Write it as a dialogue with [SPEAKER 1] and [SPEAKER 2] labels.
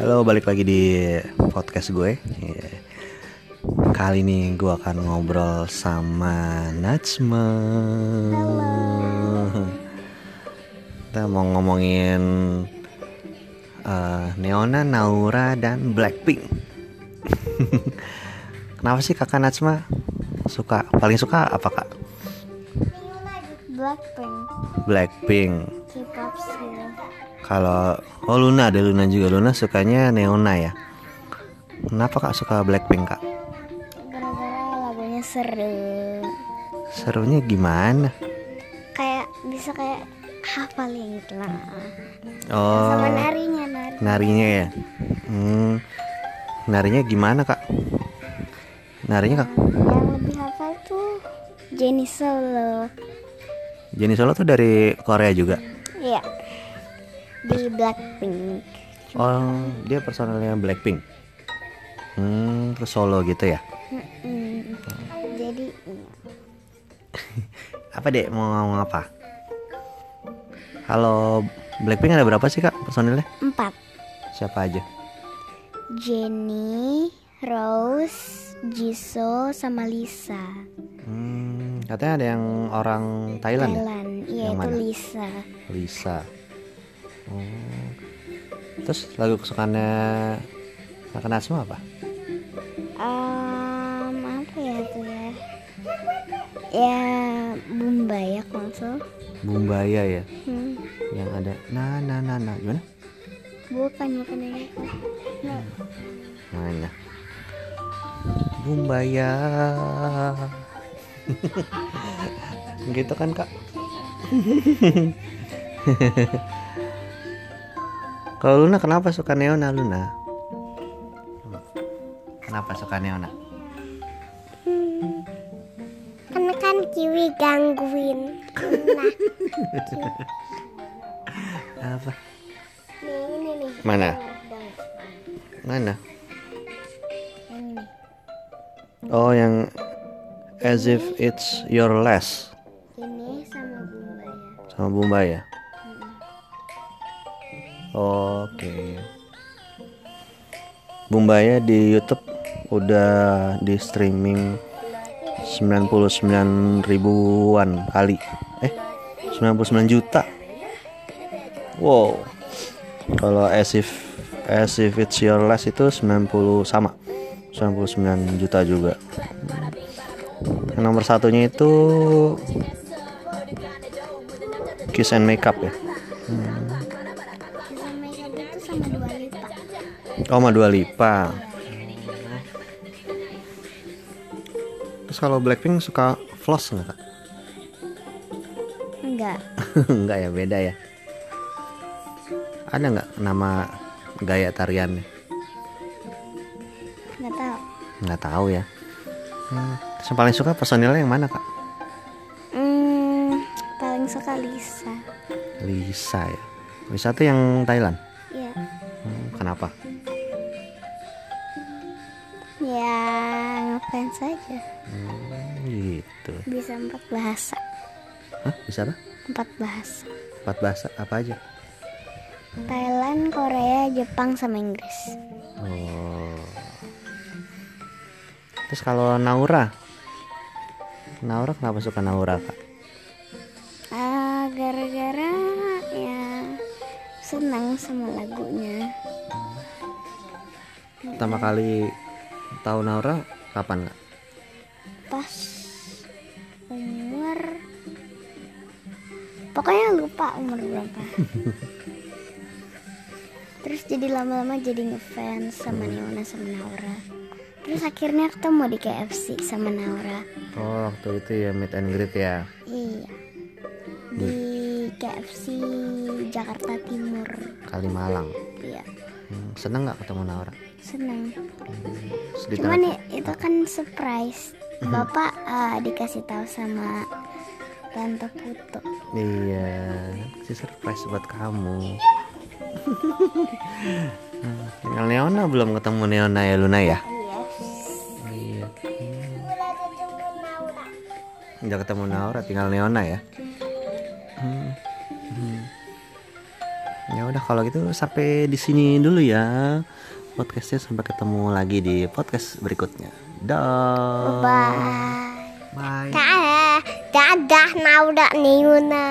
[SPEAKER 1] Halo, balik lagi di podcast gue. Iya. Kali ini gue akan ngobrol sama Najma. Kita mau ngomongin eh, Neona, Naura, dan Blackpink. Kenapa sih kakak Najma suka paling suka apa kak?
[SPEAKER 2] Blackpink,
[SPEAKER 1] Blackpink.
[SPEAKER 2] K-pop sih.
[SPEAKER 1] Kalau oh Luna ada Luna juga Luna sukanya Neona ya. Kenapa kak suka Blackpink kak?
[SPEAKER 2] Gara-gara lagunya seru.
[SPEAKER 1] Serunya gimana?
[SPEAKER 2] Kayak bisa kayak hafalin gitu lah.
[SPEAKER 1] Oh,
[SPEAKER 2] Sama narinya nari.
[SPEAKER 1] narinya ya. Hmm, narinya gimana kak? Narinya kak?
[SPEAKER 2] Yang lebih hafal tuh Jennie Solo.
[SPEAKER 1] Jenny Solo tuh dari Korea juga.
[SPEAKER 2] Iya. Di Blackpink.
[SPEAKER 1] Oh, dia personelnya Blackpink. Hmm, terus solo gitu ya.
[SPEAKER 2] Mm-mm. Jadi
[SPEAKER 1] Apa dek mau ngomong apa? Halo, Blackpink ada berapa sih kak personilnya?
[SPEAKER 2] empat.
[SPEAKER 1] Siapa aja?
[SPEAKER 2] Jennie, Rose, Jisoo sama Lisa.
[SPEAKER 1] Hmm, katanya ada yang orang Thailand, ya?
[SPEAKER 2] Thailand. Iya
[SPEAKER 1] Yang
[SPEAKER 2] itu
[SPEAKER 1] mana?
[SPEAKER 2] Lisa.
[SPEAKER 1] Lisa. Oh. Terus lagu kesukaannya Kak Nasma apa?
[SPEAKER 2] Em, apa ya tuh ya? Ya Bombay ya konsul.
[SPEAKER 1] Bumbaya ya,
[SPEAKER 2] Hmm,
[SPEAKER 1] yang ada na na na na gimana?
[SPEAKER 2] bukan bukan ini. No,
[SPEAKER 1] Mana? Nah, Bumbaya. gitu kan kak? Kalau Luna kenapa suka Neona Luna? Kenapa suka Neona?
[SPEAKER 2] Karena kan kiwi gangguin. Nah,
[SPEAKER 1] Apa?
[SPEAKER 2] nih Nah, ini nih.
[SPEAKER 1] Mana? Mana?
[SPEAKER 2] Yang ini.
[SPEAKER 1] Oh yang As if it's your last
[SPEAKER 2] Ini sama Bombay ya.
[SPEAKER 1] sama Bumba ya. Oke. Bumbaya di YouTube udah di streaming 99 ribuan kali. Eh, 99 juta. Wow. Kalau as if as if it's your last itu 90 sama. 99 juta juga. Yang nomor satunya itu Kiss and Makeup ya.
[SPEAKER 2] Sama makeup itu sama dua lipa.
[SPEAKER 1] Oh, sama Dua Lipa. Terus kalau Blackpink suka floss nggak kak?
[SPEAKER 2] Enggak.
[SPEAKER 1] nggak ya, beda ya. Ada nggak nama gaya tariannya?
[SPEAKER 2] Enggak tahu.
[SPEAKER 1] Nggak tahu ya. Hmm. Terus yang paling suka personilnya yang mana kak?
[SPEAKER 2] Hmm, paling suka Lisa.
[SPEAKER 1] Lisa ya. Lisa tuh yang Thailand.
[SPEAKER 2] Ya.
[SPEAKER 1] Hmm, Kenapa?
[SPEAKER 2] Ya, ngapain saja.
[SPEAKER 1] Hmm, gitu.
[SPEAKER 2] Bisa empat bahasa.
[SPEAKER 1] Hah? Bisa apa?
[SPEAKER 2] Empat bahasa.
[SPEAKER 1] Empat bahasa apa aja?
[SPEAKER 2] Thailand, Korea, Jepang sama Inggris.
[SPEAKER 1] Oh. Terus kalau Naura, Naura kenapa suka Naura kak?
[SPEAKER 2] Ah, gara-gara ya senang sama lagunya.
[SPEAKER 1] Pertama kali tahu Naura kapan kak?
[SPEAKER 2] Pas umur Pokoknya lupa umur berapa. Terus jadi lama-lama jadi ngefans sama Neona sama Naura. Terus akhirnya ketemu di KFC sama Naura.
[SPEAKER 1] Oh waktu itu ya meet and greet ya.
[SPEAKER 2] Iya. Di KFC Jakarta Timur.
[SPEAKER 1] Kalimalang.
[SPEAKER 2] Iya.
[SPEAKER 1] Hmm, seneng nggak ketemu Naura?
[SPEAKER 2] Senang.
[SPEAKER 1] Sedih
[SPEAKER 2] Cuman
[SPEAKER 1] banget.
[SPEAKER 2] i- itu kan surprise. Bapak eh, dikasih tahu sama Tante Putu.
[SPEAKER 1] Iya, si surprise buat kamu. Hmm, Tinggal Neona belum ketemu Neona ya Luna ya? Iya. Udah ketemu Naura, tinggal Neona ya. Hmm. Hmm. Ya udah kalau gitu sampai di sini dulu ya podcastnya sampai ketemu lagi di podcast berikutnya dah
[SPEAKER 2] Bye.
[SPEAKER 1] bye
[SPEAKER 2] Dadah, dadah Naura Niuna.